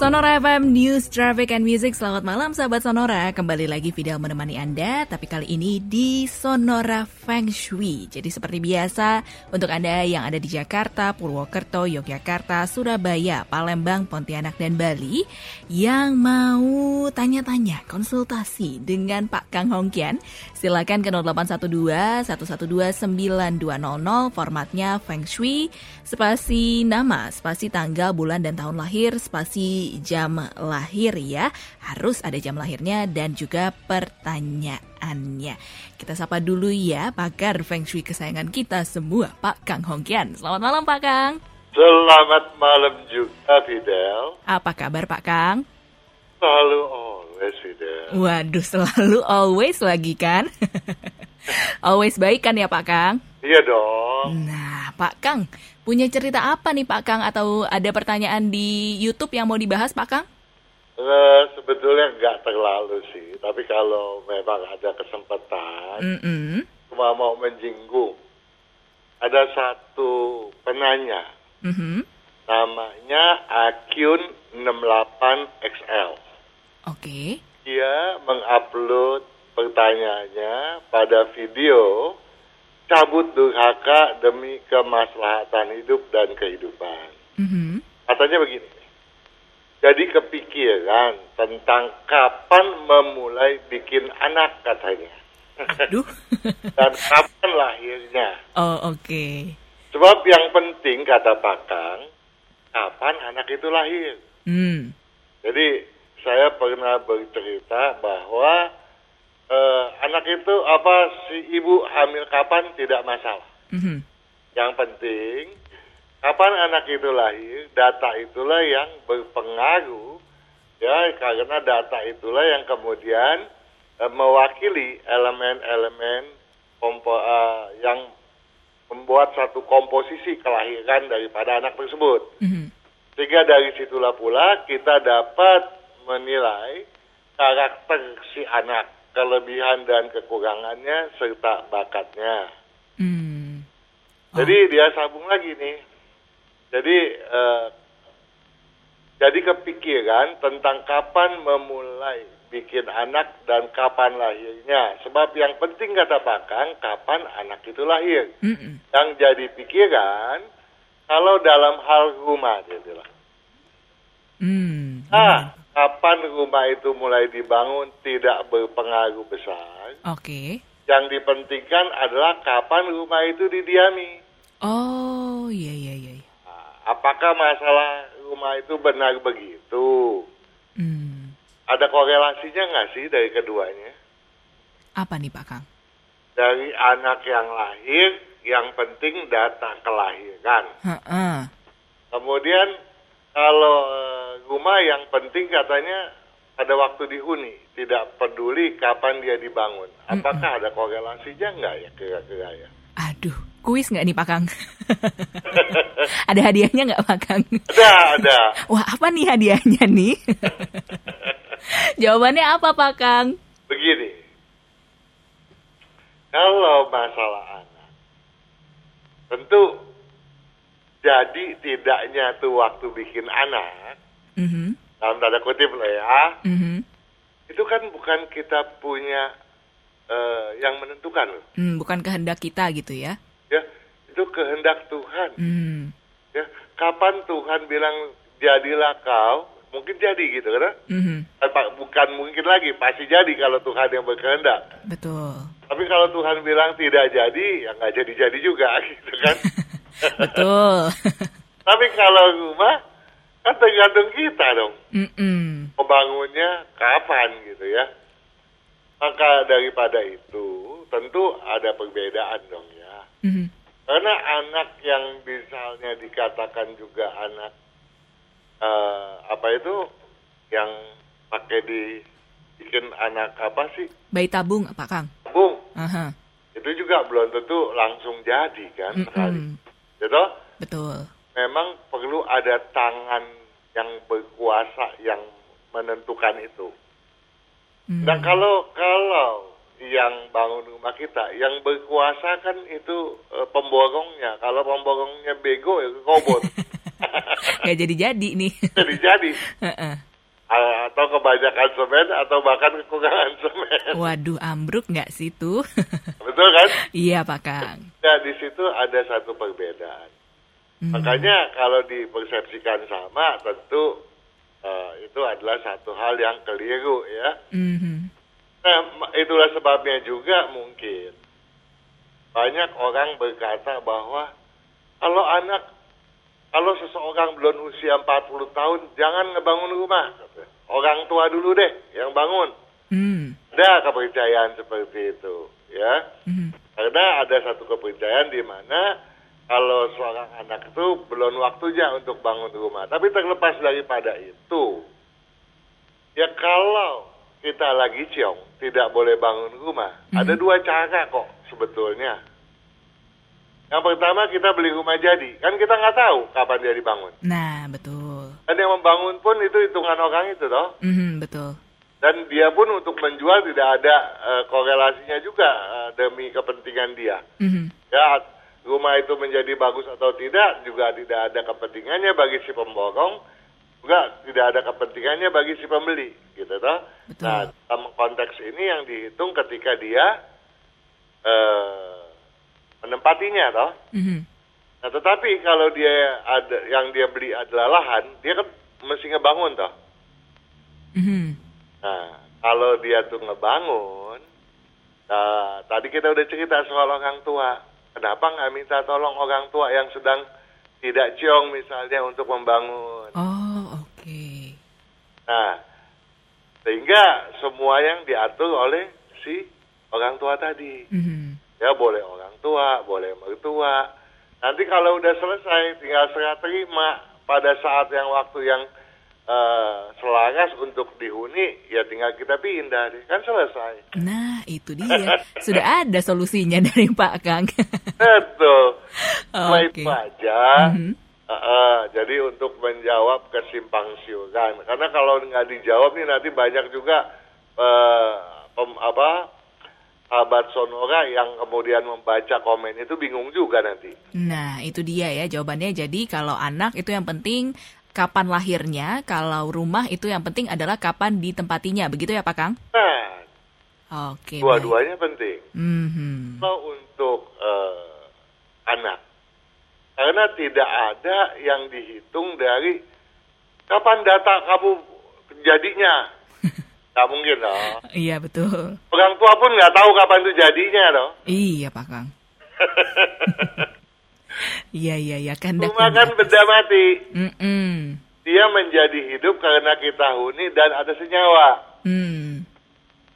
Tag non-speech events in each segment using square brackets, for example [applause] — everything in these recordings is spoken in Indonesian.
Sonora FM News Traffic and Music Selamat malam sahabat Sonora Kembali lagi Fidel menemani Anda Tapi kali ini di Sonora Feng Shui Jadi seperti biasa Untuk Anda yang ada di Jakarta, Purwokerto, Yogyakarta, Surabaya, Palembang, Pontianak, dan Bali Yang mau tanya-tanya konsultasi dengan Pak Kang Hongkian Silakan ke 0812 112 9200 Formatnya Feng Shui Spasi nama, spasi tanggal, bulan, dan tahun lahir Spasi jam lahir ya. Harus ada jam lahirnya dan juga pertanyaannya. Kita sapa dulu ya pakar Feng Shui kesayangan kita semua, Pak Kang Hongkian. Selamat malam Pak Kang. Selamat malam juga Fidel. Apa kabar Pak Kang? Selalu always Fidel. Waduh, selalu always lagi kan? [laughs] always baik kan ya Pak Kang? Iya dong. Nah, Pak Kang, punya cerita apa nih Pak Kang? Atau ada pertanyaan di YouTube yang mau dibahas Pak Kang? Eh, sebetulnya nggak terlalu sih, tapi kalau memang ada kesempatan, Mm-mm. cuma mau menjinggung. Ada satu penanya, Mhm. namanya Akyun 68XL. Oke. Dia mengupload pertanyaannya pada video cabut durhaka demi kemaslahatan hidup dan kehidupan. Mhm. Katanya begini. Jadi kepikiran tentang kapan memulai bikin anak katanya. Aduh. [laughs] Dan kapan lahirnya. oh, oke. Sebab yang penting kata Pak Kang, kapan anak itu lahir. Hmm. Jadi saya pernah bercerita bahwa eh, anak itu apa si ibu hamil kapan tidak masalah. Mhm. Yang penting, kapan anak itu lahir, data itulah yang berpengaruh, ya, karena data itulah yang kemudian eh, mewakili elemen-elemen kompo- eh, yang membuat satu komposisi kelahiran daripada anak tersebut. Mhm. Sehingga dari situlah pula kita dapat menilai karakter si anak, kelebihan dan kekurangannya, serta bakatnya. Hmm. Oh. Jadi dia sambung lagi nih. Jadi eh, jadi kepikiran tentang kapan memulai bikin anak dan kapan lahirnya. Sebab yang penting kata Pak Kang, kapan anak itu lahir. Mm-mm. Yang jadi pikiran kalau dalam hal rumah dia bilang. Hmm. Ah, kapan rumah itu mulai dibangun tidak berpengaruh besar. Oke. Yang dipentingkan adalah kapan rumah itu didiami. Oh, iya iya iya. iya. Nah, Apakah masalah rumah itu benar begitu? Hmm. Ada korelasinya nggak sih dari keduanya? Apa nih Pak Kang? Dari anak yang lahir, yang penting data kelahiran. Heeh. Kemudian kalau eh, rumah yang penting katanya pada waktu dihuni, tidak peduli kapan dia dibangun. Apakah ada korelasinya nggak ya kira-kira ya? Aduh, kuis nggak nih Pak Kang? [laughs] Ada hadiahnya nggak Pak Kang? Ada, ada. Wah, apa nih hadiahnya nih? [laughs] Jawabannya apa Pak Kang? Begini, kalau masalah anak, tentu jadi tidak nyatu waktu bikin anak, Mhm. dalam tanda kutip loh ya, Mhm. itu kan bukan kita punya eh, yang menentukan loh. Hmm, bukan kehendak kita gitu ya. Ya, itu kehendak Tuhan. Hmm. Ya, kapan Tuhan bilang jadilah kau, mungkin jadi gitu kan? Mhm. Apa- Bukan mungkin lagi, pasti jadi kalau Tuhan yang berkehendak. Betul. Tapi kalau Tuhan bilang tidak jadi, ya nggak jadi-jadi juga [laughs] gitu kan. [laughs] Betul. Tapi kalau rumah, kan tergantung kita dong. Mm-mm. Membangunnya kapan gitu ya. Maka daripada itu, tentu ada perbedaan dong ya. Mhm. Karena anak yang misalnya dikatakan juga anak, eh, apa itu, yang pakai di bikin anak apa sih? Bayi tabung Pak Kang. Bung, Aha. itu juga belum tentu langsung jadi kan sekali. Mm-mm. Gitu? Betul. memang perlu ada tangan yang berkuasa yang menentukan itu. Hmm. Dan kalau kalau yang bangun rumah kita, yang [laughs] berkuasa kan itu eh, pemborongnya. Kalau pemborongnya bego ya robot. Nggak jadi-jadi nih. [laughs] jadi-jadi. Heeh. A- atau kebanyakan semen atau bahkan kekurangan [laughs] semen. Waduh, ambruk nggak sih tuh? [laughs] Betul kan? iya, Pak Kang. Nah, di situ ada satu perbedaan. Hmm. Makanya kalau dipersepsikan sama tentu eh, itu adalah satu hal yang keliru ya. Mhm. Nah, ma- itulah sebabnya juga mungkin banyak orang berkata bahwa kalau anak kalau seseorang belum usia 40 tahun jangan ngebangun rumah. kata. Orang tua dulu deh yang bangun. Hmm. Ada kepercayaan seperti itu, ya. Mhm. Karena ada satu kepercayaan di mana kalau seorang anak itu belum waktunya untuk bangun rumah. Tapi terlepas daripada itu, ya kalau kita lagi ciong, tidak boleh bangun rumah. Mhm. Ada dua cara kok sebetulnya. Yang pertama kita beli rumah jadi, kan kita nggak tahu kapan dia dibangun. Nah, betul. Dan yang membangun pun itu hitungan orang itu, toh. Mhm, betul. Dan dia pun untuk menjual tidak ada eh, korelasinya juga eh, demi kepentingan dia Mhm. ya rumah itu menjadi bagus atau tidak juga tidak ada kepentingannya bagi si pemborong juga tidak ada kepentingannya bagi si pembeli gitu toh Betul. nah dalam konteks ini yang dihitung ketika dia eh, menempatinya toh Mhm. nah tetapi kalau dia ada yang dia beli adalah lahan dia kan mesti ngebangun toh Mhm. Nah, kalau dia tuh ngebangun, nah, tadi kita udah cerita soal orang tua. Kenapa nggak minta tolong orang tua yang sedang tidak ciong misalnya untuk membangun? Oh, oke. Nah, sehingga semua yang diatur oleh si orang tua tadi. Mhm. Ya boleh orang tua, boleh mertua. Nanti kalau udah selesai tinggal serah terima pada saat yang waktu yang eh, selaras untuk dihuni, ya tinggal kita pindah deh. Kan selesai. Nah, itu dia. Sudah ada solusinya [laughs] dari Pak Kang. Betul. Oh, Cuma oke. itu aja. Mhm. Eh, eh, jadi untuk menjawab kesimpang siuran, karena kalau nggak dijawab nih nanti banyak juga eh, pem- apa sahabat sonora yang kemudian membaca komen itu bingung juga nanti. Nah, itu dia ya jawabannya. Jadi kalau anak itu yang penting kapan lahirnya, kalau rumah itu yang penting adalah kapan ditempatinya. Begitu ya Pak Kang? Nah, Oke. baik. dua-duanya penting. Mhm. Kalau untuk eh, anak, karena tidak ada yang dihitung dari kapan data kamu [laughs] jadinya. Nggak mungkin loh. Iya betul. Orang tua pun nggak tahu kapan itu jadinya loh. Iya Pak Kang. Iya iya iya kandak. Rumah kan benda mati. Mm-mm. Dia menjadi hidup karena kita huni dan ada senyawa. Hmm.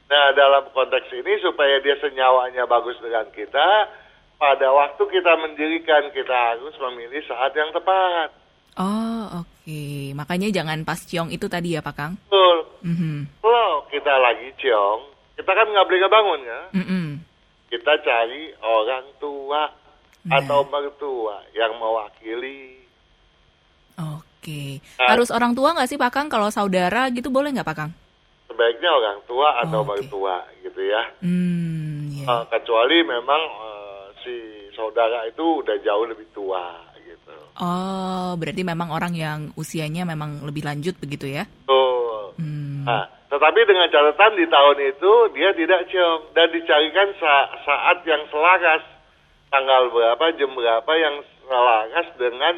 Nah, dalam konteks ini supaya dia senyawanya bagus dengan kita, pada waktu kita mendirikan kita harus memilih saat yang tepat. Oh oke. Makanya jangan pas ciong itu tadi ya Pak Kang. Betul. Mhm. Kalau kita lagi ciong, kita kan nggak boleh ngebangun ya. Mm-mm. Kita cari orang tua Nah. atau mertua yang mewakili. Oke. Ah. Harus orang tua nggak sih Pak Kang? Kalau saudara gitu boleh nggak Pak Kang? Sebaiknya orang tua Oh, atau oke. mertua gitu ya. Hmm. Iya. Eh, kecuali memang eh, si saudara itu udah jauh lebih tua gitu. Oh, berarti memang orang yang usianya memang lebih lanjut begitu ya? Tuh. Hmm. Nah, tetapi dengan catatan di tahun itu dia tidak ciong dan dicarikan sa- saat yang selaras tanggal berapa jam berapa yang selaras dengan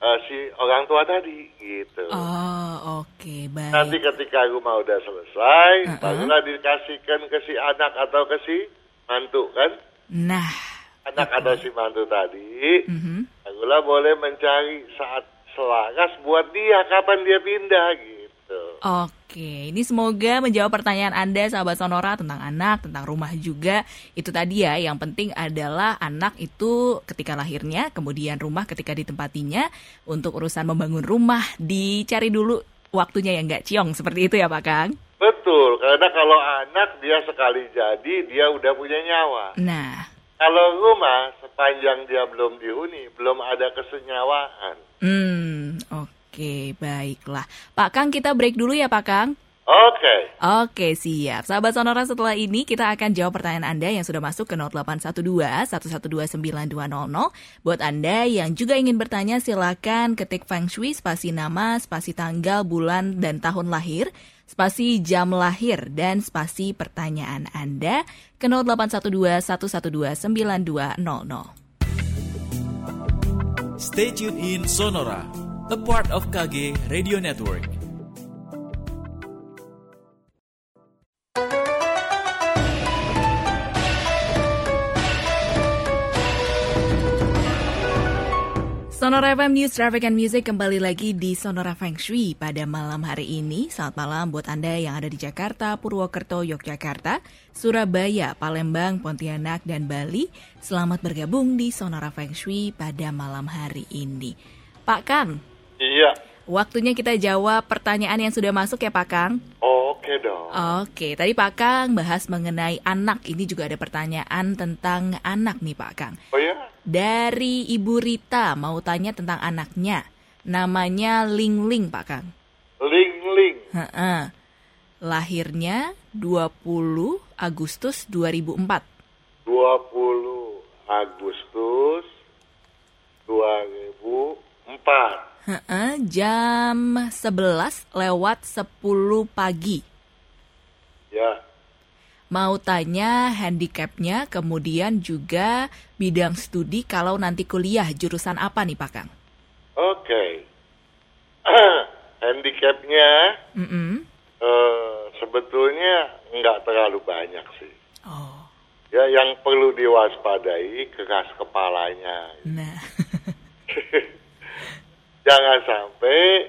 eh, si orang tua tadi gitu. Oh, oke, baik. Nanti ketika rumah udah selesai, Uh-uh. barulah dikasihkan ke si anak atau ke si mantu kan? Nah, Anak atau si mantu tadi, mhm. barulah boleh mencari saat selaras buat dia kapan dia pindah gitu. Oke, ini semoga menjawab pertanyaan Anda sahabat Sonora tentang anak, tentang rumah juga. Itu tadi ya, yang penting adalah anak itu ketika lahirnya, kemudian rumah ketika ditempatinya. Untuk urusan membangun rumah, dicari dulu waktunya yang nggak ciong, seperti itu ya Pak Kang? Betul, karena kalau anak dia sekali jadi dia udah punya nyawa. Nah, Kalau rumah sepanjang dia belum dihuni, belum ada kesenyawaan. Hmm, oke, baiklah. Pak Kang, kita break dulu ya, Pak Kang. Oke. Oke, siap. Sahabat Sonora, setelah ini kita akan jawab pertanyaan Anda yang sudah masuk ke 0812 1129200. Buat Anda yang juga ingin bertanya, silakan ketik Feng Shui, spasi nama, spasi tanggal, bulan, dan tahun lahir, spasi jam lahir, dan spasi pertanyaan Anda ke 0812 1129200. Stay tuned in Sonora, a part of KG Radio Network. Sonora FM News Traffic and Music kembali lagi di Sonora Feng Shui pada malam hari ini. Selamat malam buat Anda yang ada di Jakarta, Purwokerto, Yogyakarta, Surabaya, Palembang, Pontianak, dan Bali. Selamat bergabung di Sonora Feng Shui pada malam hari ini. Pak Kang, Iya. waktunya kita jawab pertanyaan yang sudah masuk ya Pak Kang. Oke dong. Oke, tadi Pak Kang bahas mengenai anak. Ini juga ada pertanyaan tentang anak nih Pak Kang. Oh ya? Dari Ibu Rita mau tanya tentang anaknya. Namanya Ling Ling, Pak Kang. Ling-ling. Heeh. Lahirnya 20 Agustus 2004. 20 Agustus 2004. Heeh, jam 11 lewat 10 pagi. Ya. Mau tanya handicapnya, kemudian juga bidang studi kalau nanti kuliah jurusan apa nih Pak Kang? Oke. [clears throat] Handicapnya Mm-mm. eh, sebetulnya nggak terlalu banyak sih. Oh, Ya, yang perlu diwaspadai keras kepalanya. nah. [laughs] Jangan sampai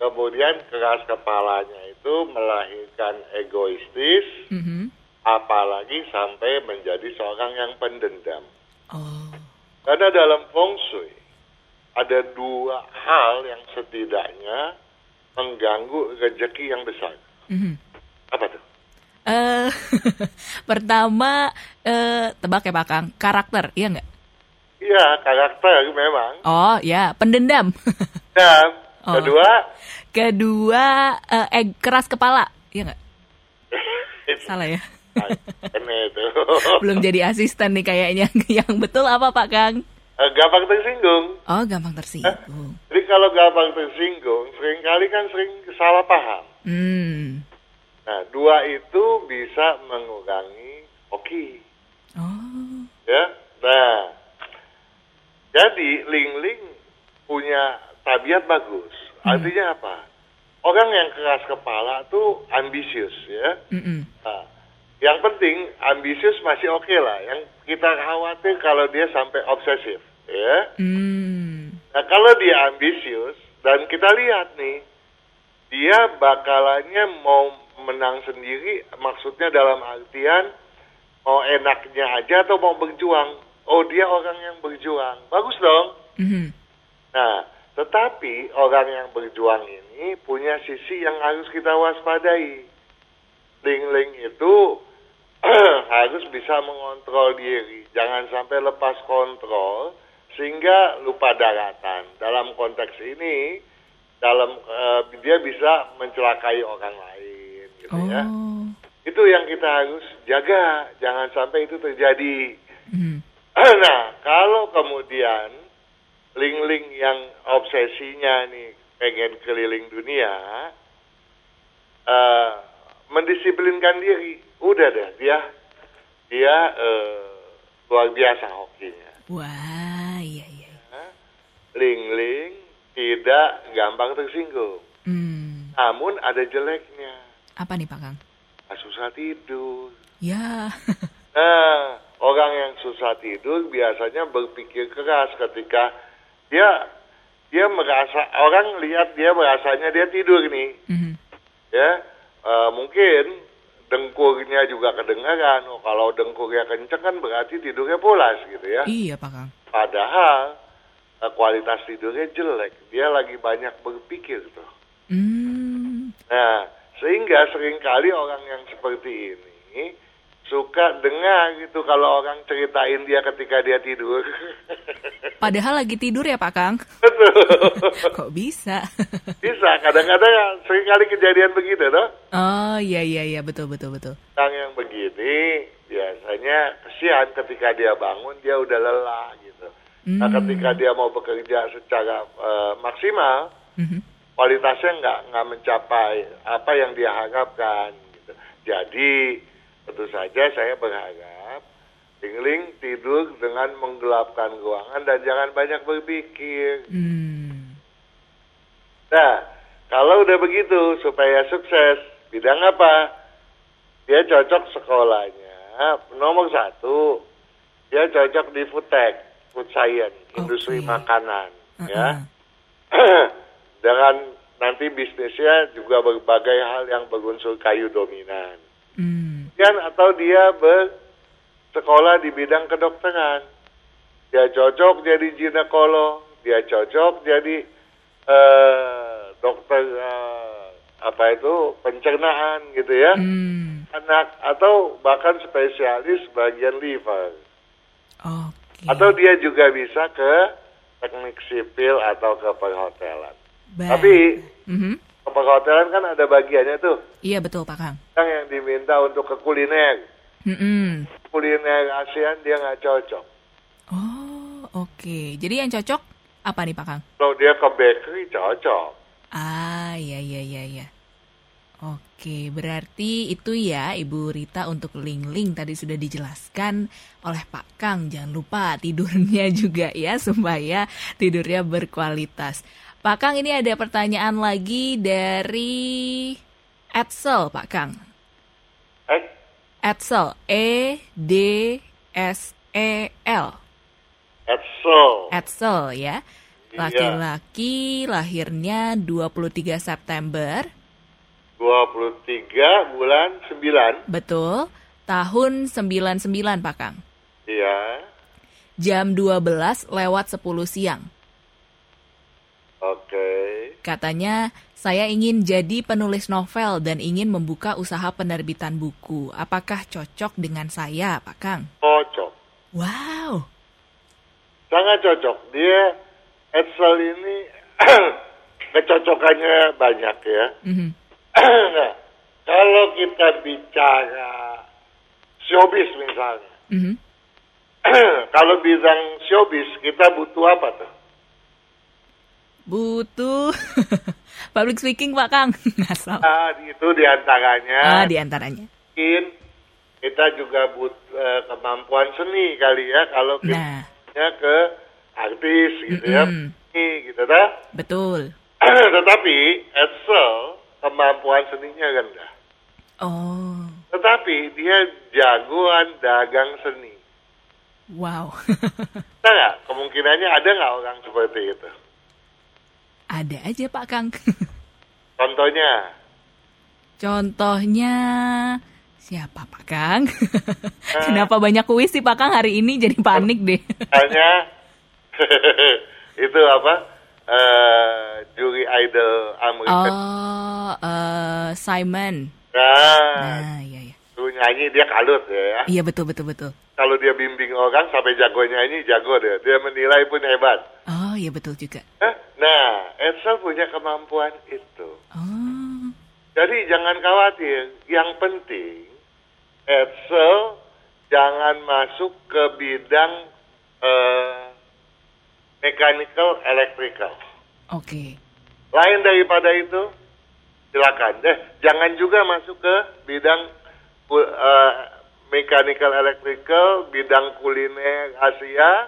kemudian keras kepalanya itu melahirkan egoistis, Mhm. apalagi sampai menjadi seorang yang pendendam. Oh, Karena dalam feng shui ada dua hal yang setidaknya mengganggu rezeki yang besar. Mhm. Apa tuh? Eh, [laughs] pertama eh tebak ya Pak Kang, karakter, iya nggak? Iya, karakter memang. Oh ya, pendendam. [laughs] Dan Oh. kedua, Kedua eh, eg- keras kepala, iya nggak? [laughs] Salah ya. [laughs] ini itu. Belum jadi asisten nih kayaknya. [laughs] Yang betul apa Pak Kang? [laughs] Eh, Gampang tersinggung. Oh, gampang tersinggung. Jadi kalau gampang tersinggung, seringkali kan sering salah paham. Hmm. Nah, dua itu bisa mengurangi hoki. Oh. Ya, nah, jadi Ling-Ling punya tabiat bagus. Artinya apa? Orang yang keras kepala tuh ambisius, ya. Mm-mm. Nah, yang penting ambisius masih oke lah. Yang kita khawatir kalau dia sampai obsesif, ya. Hmm. Nah, kalau dia ambisius dan kita lihat nih, dia bakalannya mau menang sendiri, maksudnya dalam artian mau enaknya aja atau mau berjuang. Oh, dia orang yang berjuang. Bagus dong. Mhm. Nah, tetapi orang yang berjuang ini punya sisi yang harus kita waspadai. Ling-ling itu [clears throat] harus bisa mengontrol diri, jangan sampai lepas kontrol sehingga lupa daratan. Dalam konteks ini, dalam eh, dia bisa mencelakai orang lain, gitu Oh. ya. Itu yang kita harus jaga, jangan sampai itu terjadi. Mhm. Nah, kalau kemudian ling-ling yang obsesinya nih pengen keliling dunia, eh, mendisiplinkan diri, udah deh dia dia eh, luar biasa hokinya. Wah, iya iya. Ling-ling tidak gampang tersinggung, Hmm. namun ada jeleknya, Apa nih Pak Kang? susah tidur. Ya. [laughs] Nah, orang yang susah tidur biasanya berpikir keras ketika dia dia merasa orang lihat dia merasanya dia tidur nih, Mhm. ya Eh, mungkin dengkurnya juga kedengaran. Oh, kalau dengkurnya kenceng kan berarti tidurnya pulas gitu ya. Iya Pak Kang. Padahal eh, kualitas tidurnya jelek, dia lagi banyak berpikir tuh. Hmm. Nah, sehingga seringkali orang yang seperti ini suka dengar gitu kalau orang ceritain dia ketika dia tidur. [laughs] Padahal lagi tidur ya Pak Kang. betul. [laughs] Kok bisa? Bisa, kadang-kadang seringkali kejadian begitu, toh. oh iya iya iya betul betul betul. Orang yang begini biasanya kesian ketika dia bangun dia udah lelah gitu. Nah ketika dia mau bekerja secara eh, maksimal Mhm. kualitasnya nggak nggak mencapai apa yang dia harapkan. Gitu. Jadi tentu saja saya berharap Tingling tidur dengan menggelapkan ruangan dan jangan banyak berpikir. Hmm. Nah, kalau udah begitu supaya sukses, bidang apa? Dia cocok sekolahnya. Nomor satu, dia cocok di food tech, food science, industri Oke. makanan, ya. Uh-uh. [coughs] Dengan nanti bisnisnya juga berbagai hal yang berunsur kayu dominan. Hmm. Dan atau dia bersekolah di bidang kedokteran. Dia cocok jadi ginekolog, dia cocok jadi eh, dokter eh, apa itu pencernaan gitu ya. Hmm. Anak atau bahkan spesialis bagian liver. Oke. Atau dia juga bisa ke teknik sipil atau ke perhotelan. Baik. Tapi Mhm. ke perhotelan kan ada bagiannya tuh Iya betul Pak Kang. yang yang diminta untuk ke kuliner. Mm-mm. kuliner ASEAN dia nggak cocok. Oh oke. Jadi yang cocok apa nih Pak Kang? Kalau dia ke bakery cocok. Ah iya iya iya iya. Oke, berarti itu ya Ibu Rita untuk link-link tadi sudah dijelaskan oleh Pak Kang. Jangan lupa tidurnya [laughs] juga ya supaya tidurnya berkualitas. Pak Kang ini ada pertanyaan lagi dari Edsel Pak Kang. Eh, Edsel E D S E L. Edsel. Edsel ya. Laki-laki lahirnya 23 September 23 bulan 9. Betul, tahun 99 Pak Kang. Iya. Jam 12 lewat 10 siang. Oke. Katanya, saya ingin jadi penulis novel dan ingin membuka usaha penerbitan buku. Apakah cocok dengan saya, Pak Kang? Cocok. Wow. Sangat cocok. Dia Edsel ini [clears throat] kecocokannya banyak ya. Mhm. [clears throat] Nah, kalau kita bicara showbiz misalnya. Mhm. [clears throat] kalau bidang showbiz kita butuh apa tuh? Butuh [laughs] public speaking, Pak Kang. [laughs] Ngasal. Ah, itu diantaranya. Ah, di antaranya. mungkin kita juga butuh eh, kemampuan seni kali ya kalau kita Nah, Mhm. ke artis gitu ya Mm-mm. seni gitu dah betul. [clears throat] tetapi Edsel kemampuan seninya rendah Oh, tetapi dia jagoan dagang seni wow. [laughs] Ada nggak kemungkinannya ada nggak orang seperti itu Ada aja, Pak Kang. [laughs] contohnya Contohnya siapa Pak Kang? Kenapa banyak kuis sih Pak Kang hari ini jadi panik deh. Misalnya [laughs] itu apa eh juri idol Amerika Oh, eh, Simon. nah, Nah, iya iya. tuh nyanyi dia kalut ya Iya betul betul betul. kalau dia bimbing orang sampai jagonya ini jago deh. Dia menilai pun hebat. Oh, iya betul juga. Hah? Nah, Edsel punya kemampuan itu. Oh. Jadi jangan khawatir. Yang penting, Edsel jangan masuk ke bidang eh, mechanical electrical. Oke. Lain daripada itu, silakan. Eh, jangan juga masuk ke bidang ku- eh, mechanical electrical, bidang kuliner Asia,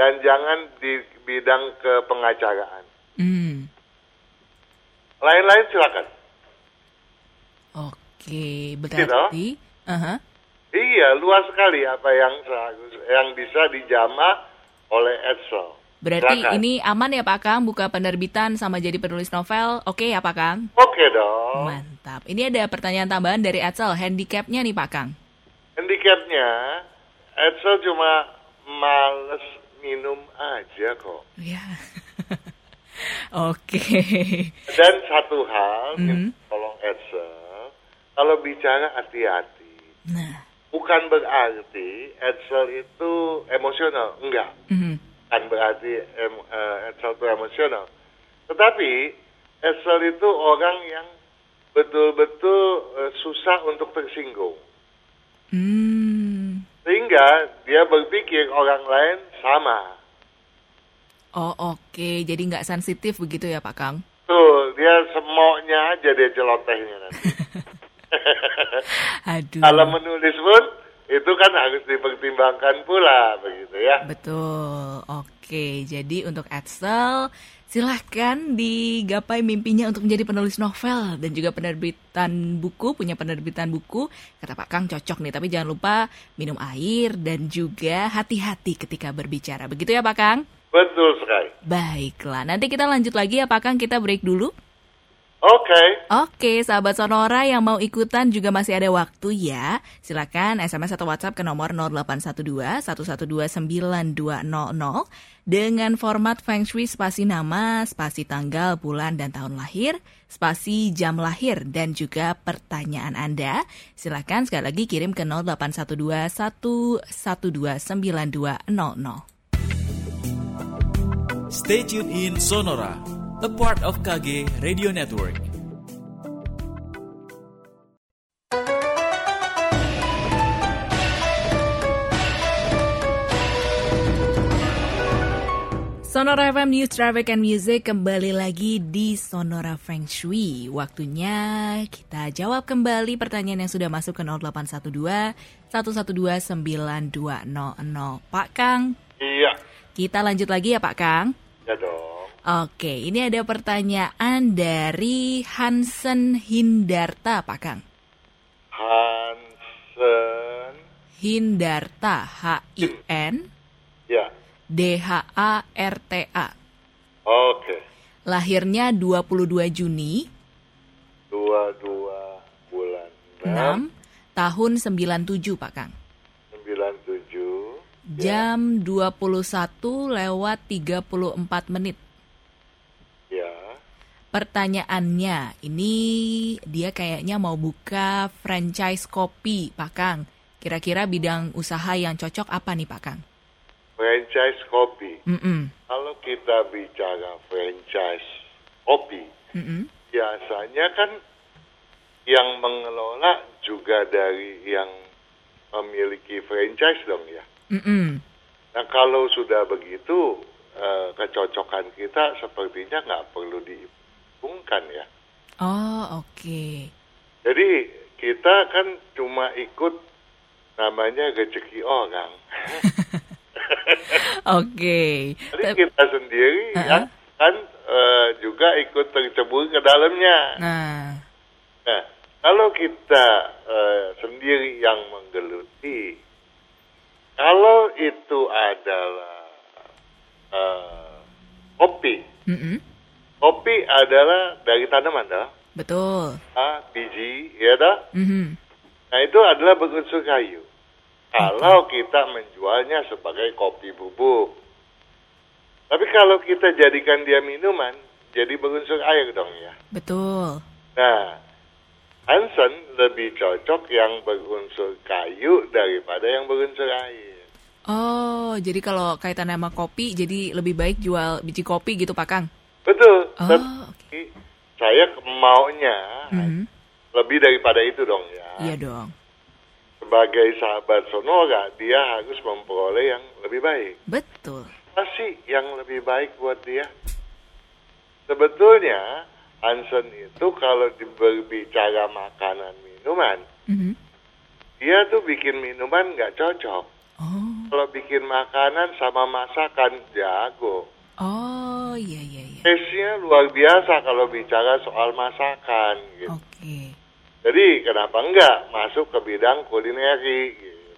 dan jangan di bidang ke pengacaraan. Hmm. Lain-lain silakan. Oke, berarti uh-huh. Aha. Iya, luas sekali apa yang seharus- yang bisa dijamak oleh Edsel. Berarti Silakan. ini aman ya Pak Kang buka penerbitan sama jadi penulis novel. Oke ya Pak Kang? Oke dong. Mantap. Ini ada pertanyaan tambahan dari Edsel. Handicapnya nih Pak Kang. Handicapnya, Edsel cuma males minum aja kok. Ya. [laughs] Oke. Dan satu hal, Mhm. tolong Edsel, kalau bicara hati-hati, Nah. bukan berarti Edsel itu emosional, enggak. mhm. bukan berarti em, eh, satu emosional. Tetapi Edsel itu orang yang betul-betul eh, susah untuk tersinggung. Hmm. Sehingga dia berpikir orang lain sama. Oh oke, jadi nggak sensitif begitu ya Pak Kang? Tuh, dia semoknya aja dia celotehnya nanti. Aduh. Kalau menulis pun, itu kan harus dipertimbangkan pula, begitu ya. Betul. Oke, jadi untuk Edsel silahkan digapai mimpinya untuk menjadi penulis novel dan juga penerbitan buku, punya penerbitan buku. Kata Pak Kang cocok nih, tapi jangan lupa minum air dan juga hati-hati ketika berbicara. Begitu ya Pak Kang? Betul sekali. Baiklah, nanti kita lanjut lagi ya Pak Kang, kita break dulu. Oke. Oke, sahabat Sonora yang mau ikutan juga masih ada waktu ya. Silakan SMS atau WhatsApp ke nomor 0812 112 9200 dengan format Feng Shui spasi nama, spasi tanggal, bulan, dan tahun lahir, spasi jam lahir, dan juga pertanyaan Anda. Silakan sekali lagi kirim ke 0812 112 9200. Stay tuned in Sonora, a part of KG Radio Network. Sonora FM News Traffic and Music kembali lagi di Sonora Feng Shui. Waktunya kita jawab kembali pertanyaan yang sudah masuk ke 0812 112 9200. Pak Kang, Iya. kita lanjut lagi ya Pak Kang. Ya dong. Oke, ini ada pertanyaan dari Hansen Hindarta, Pak Kang. Hansen. Hindarta, H-I-N, Ya. D-H-A-R-T-A. Oke. Lahirnya 22 Juni Dua-dua bulan. 6 tahun 97 Pak Kang. Sembilan tujuh. Jam 21 lewat 34 menit. Ya. Pertanyaannya, ini dia kayaknya mau buka franchise kopi, Pak Kang. Kira-kira bidang usaha yang cocok apa nih, Pak Kang? Franchise kopi. Mm-mm, Kalau kita bicara franchise kopi, mm-mm. biasanya kan yang mengelola juga dari yang memiliki franchise dong ya. Mm-mm. Nah kalau sudah begitu eh, kecocokan kita sepertinya nggak perlu dihitungkan ya. Oh, oke. Jadi kita kan cuma ikut namanya rezeki orang. Oke. Jadi Tep- kita sendiri ya, Uh-uh. kan eh, juga ikut tercebur ke dalamnya. Nah, Nah, kalau kita eh, sendiri yang menggeluti, kalau itu adalah eh, kopi, mm-mm. kopi adalah dari tanaman dah, betul. ah, biji, ya dah. Mhm. Nah itu adalah berunsur kayu. Kalau kita menjualnya sebagai kopi bubuk, tapi kalau kita jadikan dia minuman, jadi berunsur air dong ya. Betul. Nah, Hansen lebih cocok yang berunsur kayu daripada yang berunsur air. Oh, jadi kalau kaitan sama kopi, jadi lebih baik jual biji kopi gitu, Pak Kang? Betul. Oh, Tapi saya maunya Mhm. lebih daripada itu dong ya. Iya dong. Sebagai sahabat Sonora, dia harus memperoleh yang lebih baik. Betul. Apa sih yang lebih baik buat dia? Sebetulnya Hansen itu kalau di- berbicara makanan minuman, Mhm. dia tuh bikin minuman nggak cocok. Oh, Kalau bikin makanan sama masakan jago. oh, iya iya iya. Tesnya luar biasa kalau bicara soal masakan gitu. Oh. Oke. Jadi kenapa enggak masuk ke bidang kulineri gitu.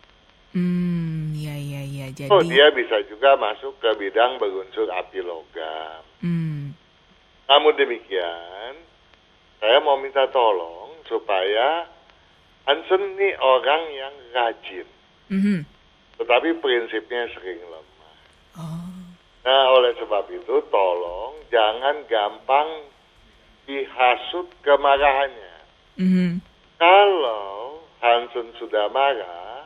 Hmm, iya iya iya. Jadi, Oh, dia bisa juga masuk ke bidang berunsur api logam. hmm, Namun demikian, saya mau minta tolong supaya Hansen ini orang yang rajin, mhm. tetapi prinsipnya sering lemah. Oh, Nah, oleh sebab itu tolong jangan gampang dihasut kemarahannya. mhm. Kalau Hansen sudah marah,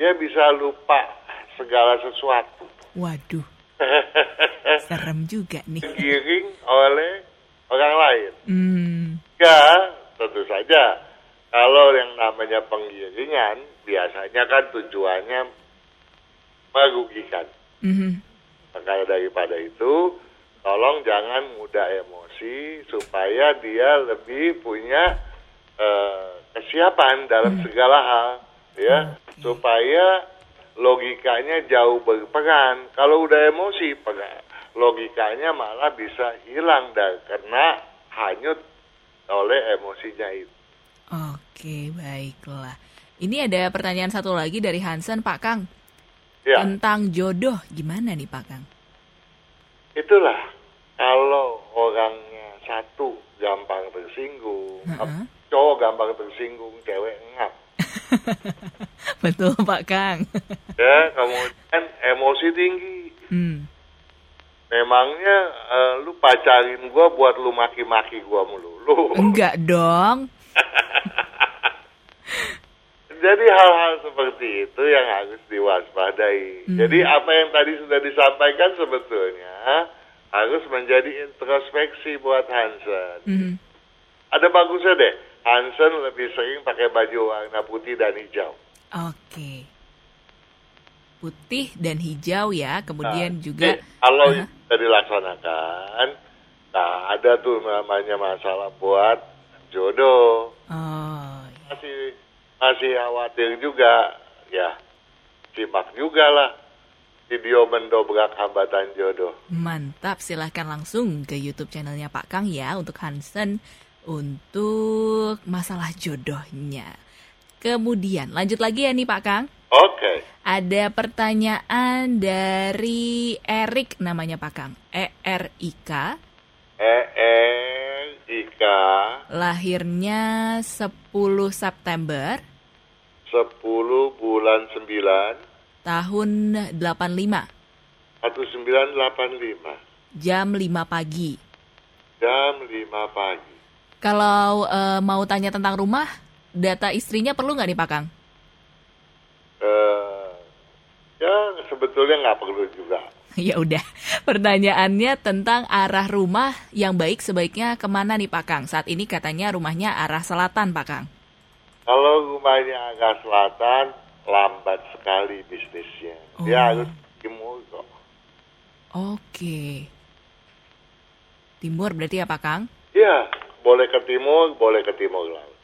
dia bisa lupa segala sesuatu. [laughs] Waduh. Serem juga nih. digiring oleh orang lain. Hmm. Ya, tentu saja. Kalau yang namanya penggiringan, biasanya kan tujuannya merugikan. Mhm. Maka daripada itu, tolong jangan mudah emosi supaya dia lebih punya eh, kesiapan dalam segala hal, ya, supaya logikanya jauh berperan. Kalau udah emosi, pega- logikanya malah bisa hilang dan karena hanyut oleh emosinya itu. Oke, baiklah. Ini ada pertanyaan satu lagi dari Hansen, Pak Kang. Ya. Tentang jodoh, gimana nih Pak Kang? Itulah kalau orangnya satu gampang tersinggung, Heeh. cowok gampang tersinggung, cewek ngap. [laughs] Betul Pak Kang. Ya, kemudian emosi tinggi. Hmm. Memangnya eh, lu pacarin gua buat lu maki-maki gua mulu. [laughs] Lu. Enggak dong. Jadi hal-hal seperti itu yang harus diwaspadai. Hmm. Jadi apa yang tadi sudah disampaikan sebetulnya harus menjadi introspeksi buat Hansen. Mhm. Ada bagusnya deh. Hansen lebih sering pakai baju warna putih dan hijau. Oke. Putih dan hijau ya, kemudian Nah, juga eh, kalau Aha. sudah dilaksanakan, nah ada tuh namanya masalah buat jodoh. Oh, Masih masih khawatir juga, ya. Simak juga lah video mendobrak hambatan jodoh. mantap. Silahkan langsung ke YouTube channelnya Pak Kang ya untuk Hansen untuk masalah jodohnya. Kemudian lanjut lagi ya nih Pak Kang. Oke. Ada pertanyaan dari Erik namanya Pak Kang. E R I K. Eh, eh, Ika, Lahirnya 10 September 10 bulan 9, tahun 85 1985, jam 5 pagi. jam 5 pagi. Kalau eh, mau tanya tentang rumah, data istrinya perlu nggak nih Pak Kang? [laughs] eh ya sebetulnya nggak perlu juga. ya udah, pertanyaannya tentang arah rumah yang baik sebaiknya kemana nih Pak Kang? Saat ini katanya rumahnya arah selatan Pak Kang. Kalau rumahnya agak selatan, lambat sekali bisnisnya. Dia Oh. harus timur kok. Oke. Timur berarti ya Pak Kang? Ya, boleh ke timur, boleh ke timur laut.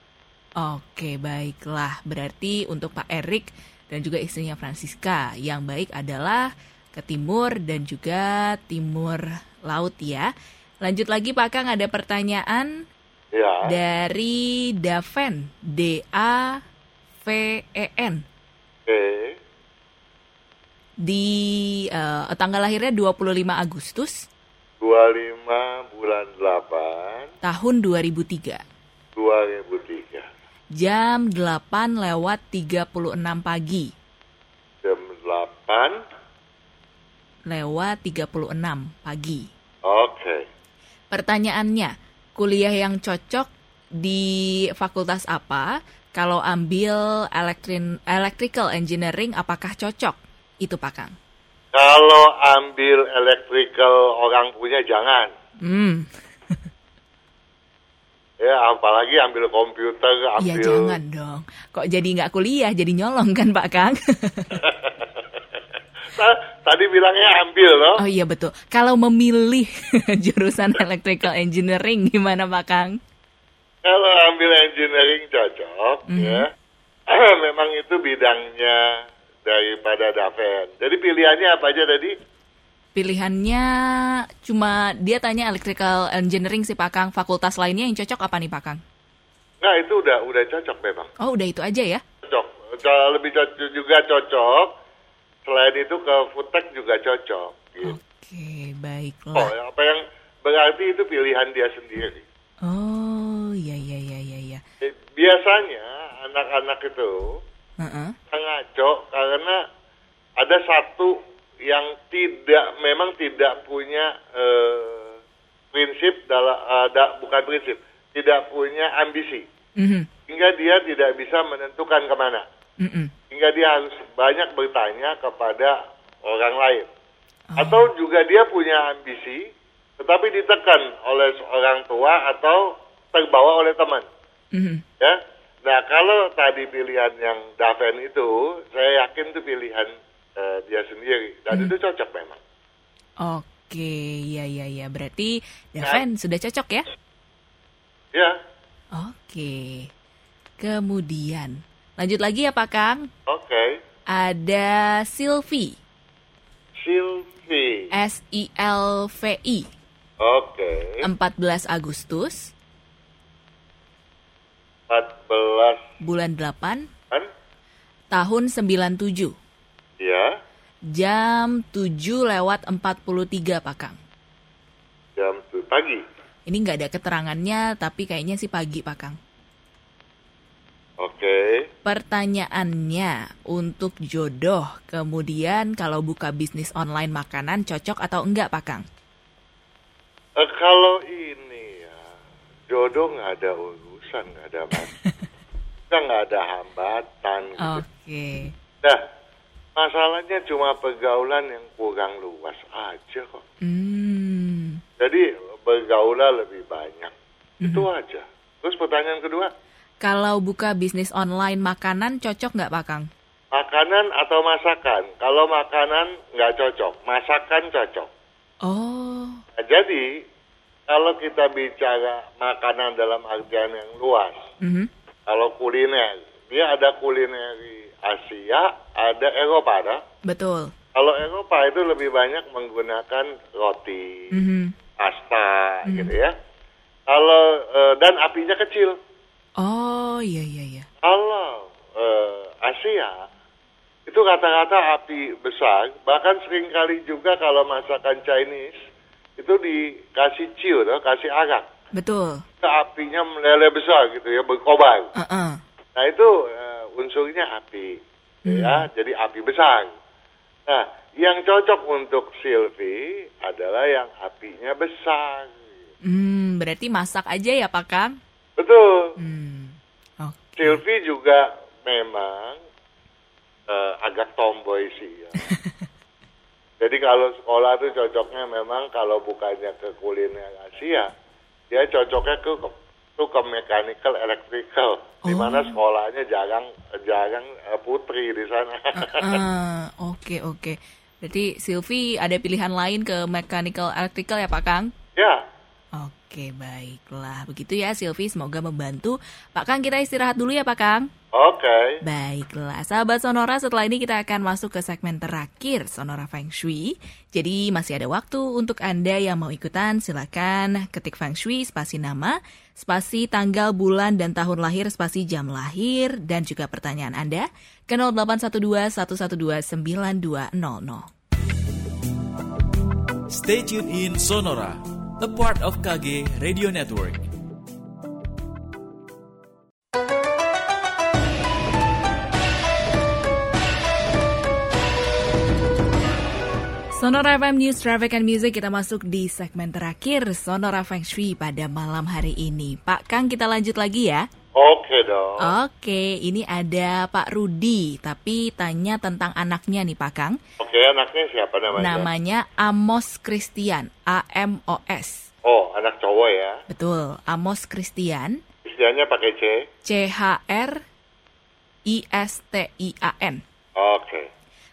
Oke, baiklah. Berarti untuk Pak Erik dan juga istrinya Francisca, yang baik adalah ke timur dan juga timur laut ya. Lanjut lagi Pak Kang ada pertanyaan Ya, dari Daven, D A V E N oke. di eh, tanggal lahirnya 25 Agustus 25 bulan 8, tahun 2003 2003. jam 8 lewat 36 pagi Jam 8, lewat 36 pagi. oke. Pertanyaannya, kuliah yang cocok di fakultas apa? Kalau ambil elektrin, electrical engineering, apakah cocok? Itu Pak Kang. Kalau ambil elektrikal orang punya jangan. Hmm, Ya, apalagi ambil komputer, ya ambil jangan dong. Kok jadi nggak kuliah, jadi nyolong kan Pak [laughs] Kang? Ta- Tadi bilangnya ambil loh. oh iya betul. Kalau memilih [laughs] jurusan electrical engineering, gimana Pak Kang? Kalau ambil engineering cocok, ya. [clears throat] Memang itu bidangnya daripada Daven. Jadi pilihannya apa aja tadi? Pilihannya cuma dia tanya electrical engineering sih Pak Kang. Fakultas lainnya yang cocok apa nih Pak Kang? Nah itu udah udah cocok memang. Oh udah itu aja ya. Cocok. Kalau lebih cocok juga cocok. Selain itu ke Futek juga cocok. Hmm. Gitu. Oke, Oh, baiklah. apa yang berarti itu pilihan dia sendiri. Oh, ya ya ya ya ya. Eh, Biasanya anak-anak itu Heeh. ngaco karena ada satu yang tidak memang tidak punya eh, prinsip dalam ada bukan prinsip tidak punya ambisi Mhm, hingga dia tidak bisa menentukan kemana mm-mm. hingga dia harus banyak bertanya kepada orang lain Atau juga dia punya ambisi, tetapi ditekan oleh orang tua atau terbawa oleh teman. Mhm. Ya. Nah, kalau tadi pilihan yang Daven itu, saya yakin itu pilihan eh, dia sendiri dan itu cocok memang. Oke, iya iya iya. Berarti Nah. Daven sudah cocok ya? Ya. Oke. Kemudian, lanjut lagi ya Pak Kang. Oke. Ada Silvi, Silvi. S I L V I, Oke. 14 Agustus, 14 bulan 8, kan? tahun 97. Ya. Jam 7 lewat 43 Pak Kang. Jam 7 pagi. Ini nggak ada keterangannya, tapi kayaknya sih pagi Pak Kang. Oke. Pertanyaannya untuk jodoh, kemudian kalau buka bisnis online makanan cocok atau enggak Pak Kang? Eh, kalau ini ya, jodoh nggak ada urusan, nggak ada masalah. Kita nggak ada hambatan. gitu. Oh. Oke. Nah, masalahnya cuma pergaulan yang kurang luas aja kok. Hmm. Jadi bergaulah lebih banyak. Itu aja. Terus pertanyaan kedua, Kalau buka bisnis online makanan cocok nggak Pak Kang? makanan atau masakan? Kalau makanan nggak cocok, masakan cocok. Oh. Nah, jadi, kalau kita bicara makanan dalam artian yang luas, Mhm. kalau kuliner dia ada kulineri Asia ada Eropa ada Betul. kalau Eropa itu lebih banyak menggunakan roti Mhm. pasta gitu ya kalau eh, dan apinya kecil Oh iya iya iya. kalau eh, Asia itu rata-rata api besar bahkan seringkali juga kalau masakan Chinese itu dikasih ciu tau, kasih arak Betul. apinya meleleh besar gitu ya berkobar Heeh. Nah itu eh, unsurnya api, ya, jadi api besar. Nah, yang cocok untuk Silvi adalah yang apinya besar. Hmm, berarti masak aja ya Pak Kang? Betul. Hmm. Oke. [laughs] Silvi juga memang eh, agak tomboy sih. Ya. jadi kalau sekolah tuh cocoknya memang kalau bukannya ke kuliner Asia, dia cocoknya ke tuh ke mechanical electrical di mana sekolahnya jarang jarang eh, putri di sana. Heeh, Oke oke. Berarti Silvi ada pilihan lain ke mechanical electrical ya Pak Kang? Ya, Oke baiklah begitu ya Silvi semoga membantu. Pak Kang kita istirahat dulu ya Pak Kang. oke. Baiklah, sahabat Sonora, setelah ini kita akan masuk ke segmen terakhir Sonora Feng Shui. Jadi masih ada waktu untuk Anda yang mau ikutan, silakan ketik Feng Shui, spasi nama, spasi tanggal, bulan, dan tahun lahir, spasi jam lahir, dan juga pertanyaan Anda ke 0812 112 9200. Stay tuned in Sonora, a part of KG Radio Network. Sonora FM News Traffic and Music kita masuk di segmen terakhir Sonora Feng Shui pada malam hari ini. Pak Kang kita lanjut lagi ya. Oke dong. Oh. Oke, ini ada Pak Rudi, tapi tanya tentang anaknya nih Pak Kang. Oke, anaknya siapa namanya? Namanya Amos Christian, A-M-O-S. Oh, anak cowok ya. Betul, Amos Christian, Istilahnya pakai C. C-H-R-I-S-T-I-A-N. Oke.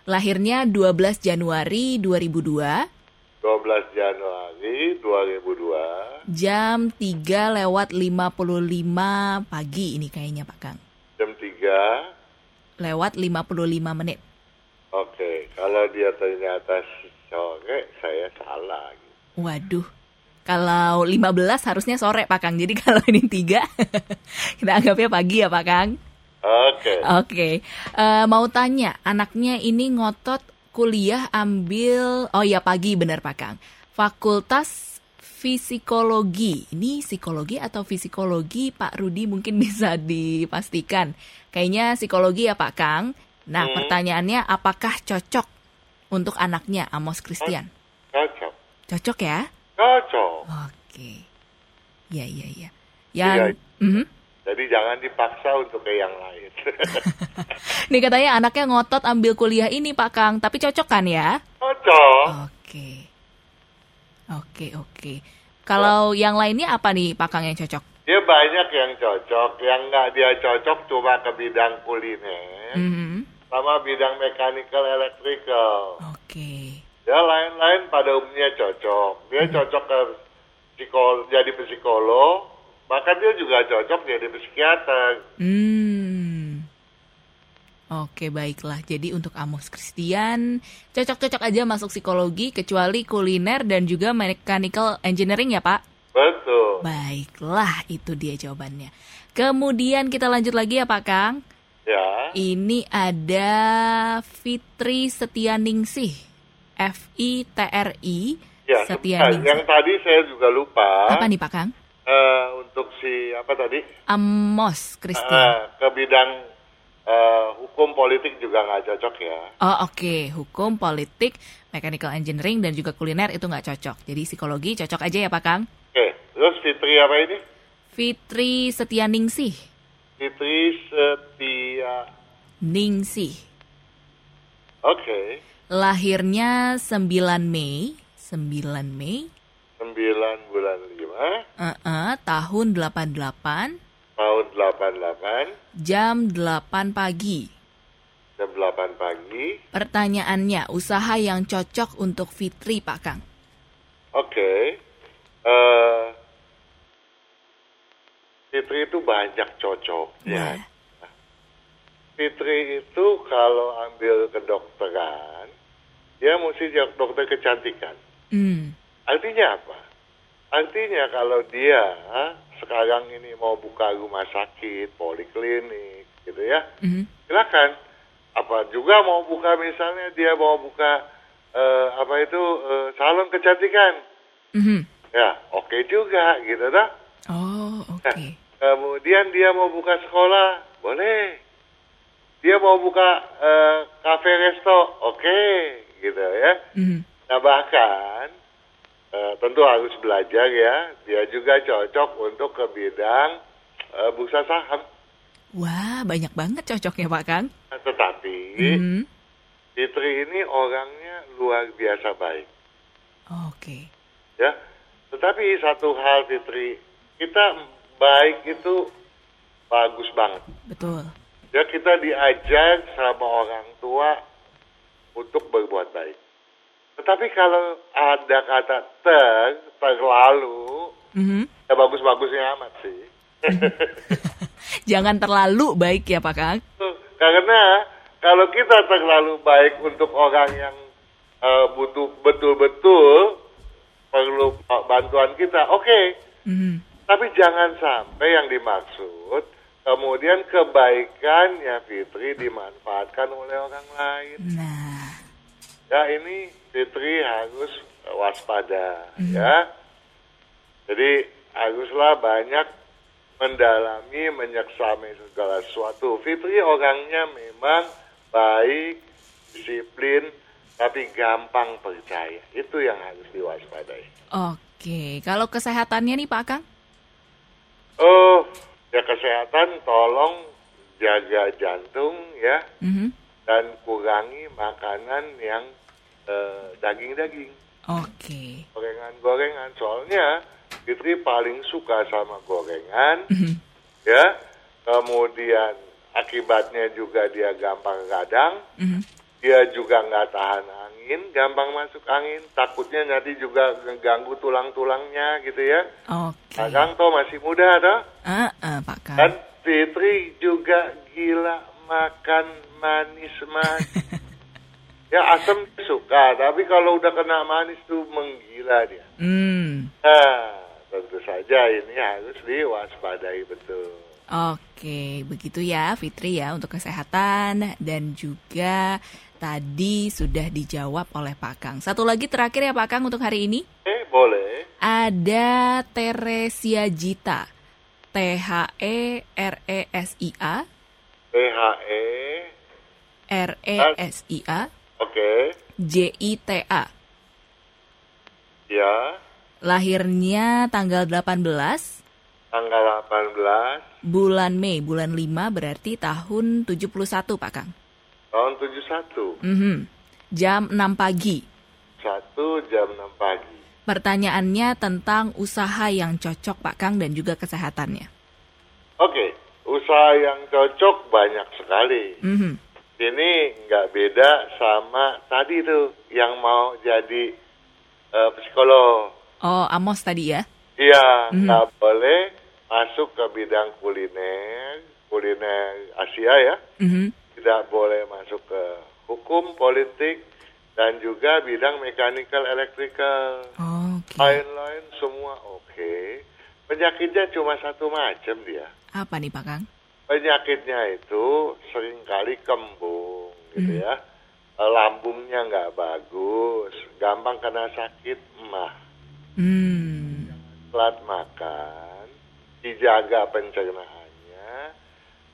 Lahirnya 12 Januari 2002, 12 Januari 2002, jam 3 lewat 55 pagi ini kayaknya Pak Kang. jam 3. Lewat 55 menit. Oke, kalau dia ternyata sore, saya salah. Waduh. Kalau 15 harusnya sore Pak Kang. Jadi [laughs] kalau ini 3 kita anggapnya pagi ya Pak Kang. Oke. Oh. Oke. Eh, mau tanya, anaknya ini ngotot kuliah ambil oh ya pagi benar Pak Kang. Fakultas Fisikologi. Ini psikologi atau fisikologi Pak Rudi mungkin [laughs] bisa dipastikan. Kayaknya psikologi ya Pak Kang. Nah, pertanyaannya apakah cocok untuk anaknya Amos Christian? Cocok. Cocok ya? Cocok. Oke. Ya, ya, ya. Iya. Yang Mhm. Jadi jangan dipaksa untuk ke yang lain. [laughs] Nih katanya anaknya ngotot ambil kuliah ini Pak Kang, tapi cocok kan ya? Cocok. Oke. Oke, oke. Kalau Iya. yang lainnya apa nih Pak Kang yang cocok? Dia banyak yang cocok, yang nggak dia cocok cuma ke bidang kuliner, Mhm. sama bidang mechanical electrical. Oke. Ya lain-lain pada umumnya cocok. Dia cocok ke psikolog, jadi psikolog, bahkan dia juga cocok jadi psikiater. Hmm. Oke, baiklah. Jadi untuk Amos Christian, cocok-cocok aja masuk psikologi kecuali kuliner dan juga mechanical engineering ya, Pak? Betul. Baiklah, itu dia jawabannya. Kemudian kita lanjut lagi ya Pak Kang. Ya. Ini ada Fitri Setianingsih. F I T R I Ya, sebentar. yang Setianingsih. tadi saya juga lupa Apa nih Pak Kang? eh, untuk si apa tadi Amos Christian. Eh, ke bidang eh, hukum politik juga nggak cocok ya. Oh oke, hukum, politik, mechanical engineering dan juga kuliner itu nggak cocok. Jadi psikologi cocok aja ya Pak Kang. Oke, terus Fitri apa ini? Fitri Setianingsih. Fitri Setia. Ningsih. Oke, Lahirnya 9 Mei, 9 Mei 9 bulan 5 eh, tahun 88 tahun 88 jam 8 pagi. jam 8 pagi. Pertanyaannya, usaha yang cocok untuk Fitri Pak Kang. Oke. Eh, Fitri itu banyak cocoknya. Wah. Fitri itu kalau ambil kedokteran, dia mesti jadi dokter kecantikan. Hmm, Artinya apa? Artinya kalau dia ah, sekarang ini mau buka rumah sakit, poliklinik, gitu ya, mhm. silakan. Apa juga mau buka misalnya dia mau buka eh, apa itu eh, salon kecantikan, Mhm. ya oke juga, gitu dah. Oh, oke. Kemudian dia mau buka sekolah, boleh. Dia mau buka eh, kafe resto, oke, gitu ya. Mhm. Nah bahkan eh, tentu harus belajar ya. Dia juga cocok untuk ke bidang eh, bursa saham. Wah, banyak banget cocoknya Pak Kang. Nah, Tetapi Mhm. Fitri ini orangnya luar biasa baik Oke. ya. Tetapi satu hal Fitri, kita baik itu bagus banget. Betul. Ya kita diajar sama orang tua untuk berbuat baik. Tetapi kalau ada kata ter, terlalu, Mhm. ya bagus-bagusnya amat sih. Jangan terlalu baik ya Pak Kang. Karena kalau kita terlalu baik untuk orang yang eh, butuh betul-betul perlu bantuan kita, oke. Mhm. Tapi jangan sampai yang dimaksud kemudian kebaikannya Fitri dimanfaatkan oleh orang lain. Nah, Ya ini Fitri harus waspada ya. Jadi haruslah banyak mendalami, menyeksami segala sesuatu. Fitri orangnya memang baik, disiplin, tapi gampang percaya. Itu yang harus diwaspadai. oke. Kalau kesehatannya nih Pak Kang? Oh, ya kesehatan tolong jaga jantung ya Mhm. dan kurangi makanan yang eh, daging-daging, Oke. gorengan-gorengan. Soalnya Fitri paling suka sama gorengan Mhm. ya. Kemudian akibatnya juga dia gampang radang, Mhm. dia juga nggak tahan angin, gampang masuk angin. Takutnya nanti juga mengganggu tulang-tulangnya gitu ya. Oke. Sekarang toh masih muda toh. Ah, ah, Pak Kang. Dan Fitri juga gila makan manis manis. [laughs] ya asam suka, tapi kalau udah kena manis tuh menggila dia. Hmm. Nah, tentu saja ini harus diwaspadai betul. Oke, begitu ya Fitri ya untuk kesehatan dan juga tadi sudah dijawab oleh Pak Kang. Satu lagi terakhir ya Pak Kang untuk hari ini Eh, boleh. ada Teresia Jita. T H E R E S I A PHE, R E S I A oke, J I T A. ya. Lahirnya tanggal 18 Tanggal 18 bulan Mei, bulan 5 berarti tahun 71 Pak Kang. tahun 71, Mhm. Jam 6 pagi. 1 jam 6 pagi. pertanyaannya tentang usaha yang cocok Pak Kang dan juga kesehatannya. Oke, usaha yang cocok banyak sekali. Mhm. Ini nggak beda sama tadi tuh yang mau jadi eh, psikolog. Oh, Amos tadi ya? Iya, Mhm. nggak boleh masuk ke bidang kuliner, kuliner Asia ya. Mhm. Tidak boleh masuk ke hukum, politik, dan juga bidang mechanical, electrical, Oh, Oke. lain-lain semua oke. Penyakitnya cuma satu macam dia. Apa nih Pak Kang? Penyakitnya itu seringkali kembung gitu ya. Lambungnya nggak bagus, gampang kena sakit emah. Hmm. pelan makan, dijaga pencernaannya,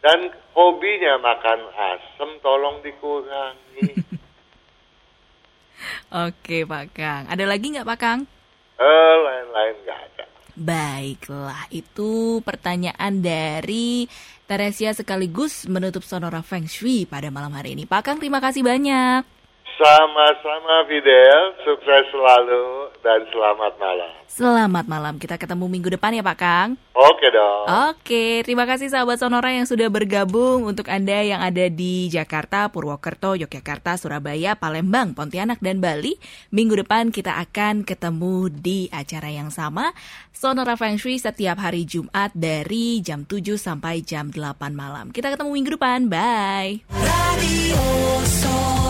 dan hobinya makan asem tolong dikurangi. Oke Pak Kang. Ada lagi nggak Pak Kang? eh, lain-lain nggak ada. Baiklah, itu pertanyaan dari Teresia sekaligus menutup Sonora Feng Shui pada malam hari ini. Pak Kang, terima kasih banyak. Sama-sama Fidel, sukses selalu dan selamat malam. Selamat malam, kita ketemu minggu depan ya Pak Kang. Oke dong. Oke, terima kasih sahabat Sonora yang sudah bergabung untuk Anda yang ada di Jakarta, Purwokerto, Yogyakarta, Surabaya, Palembang, Pontianak, dan Bali. Minggu depan kita akan ketemu di acara yang sama, Sonora Feng Shui setiap hari Jumat dari jam 7 sampai jam 8 malam. Kita ketemu minggu depan, bye! Radio Sonora.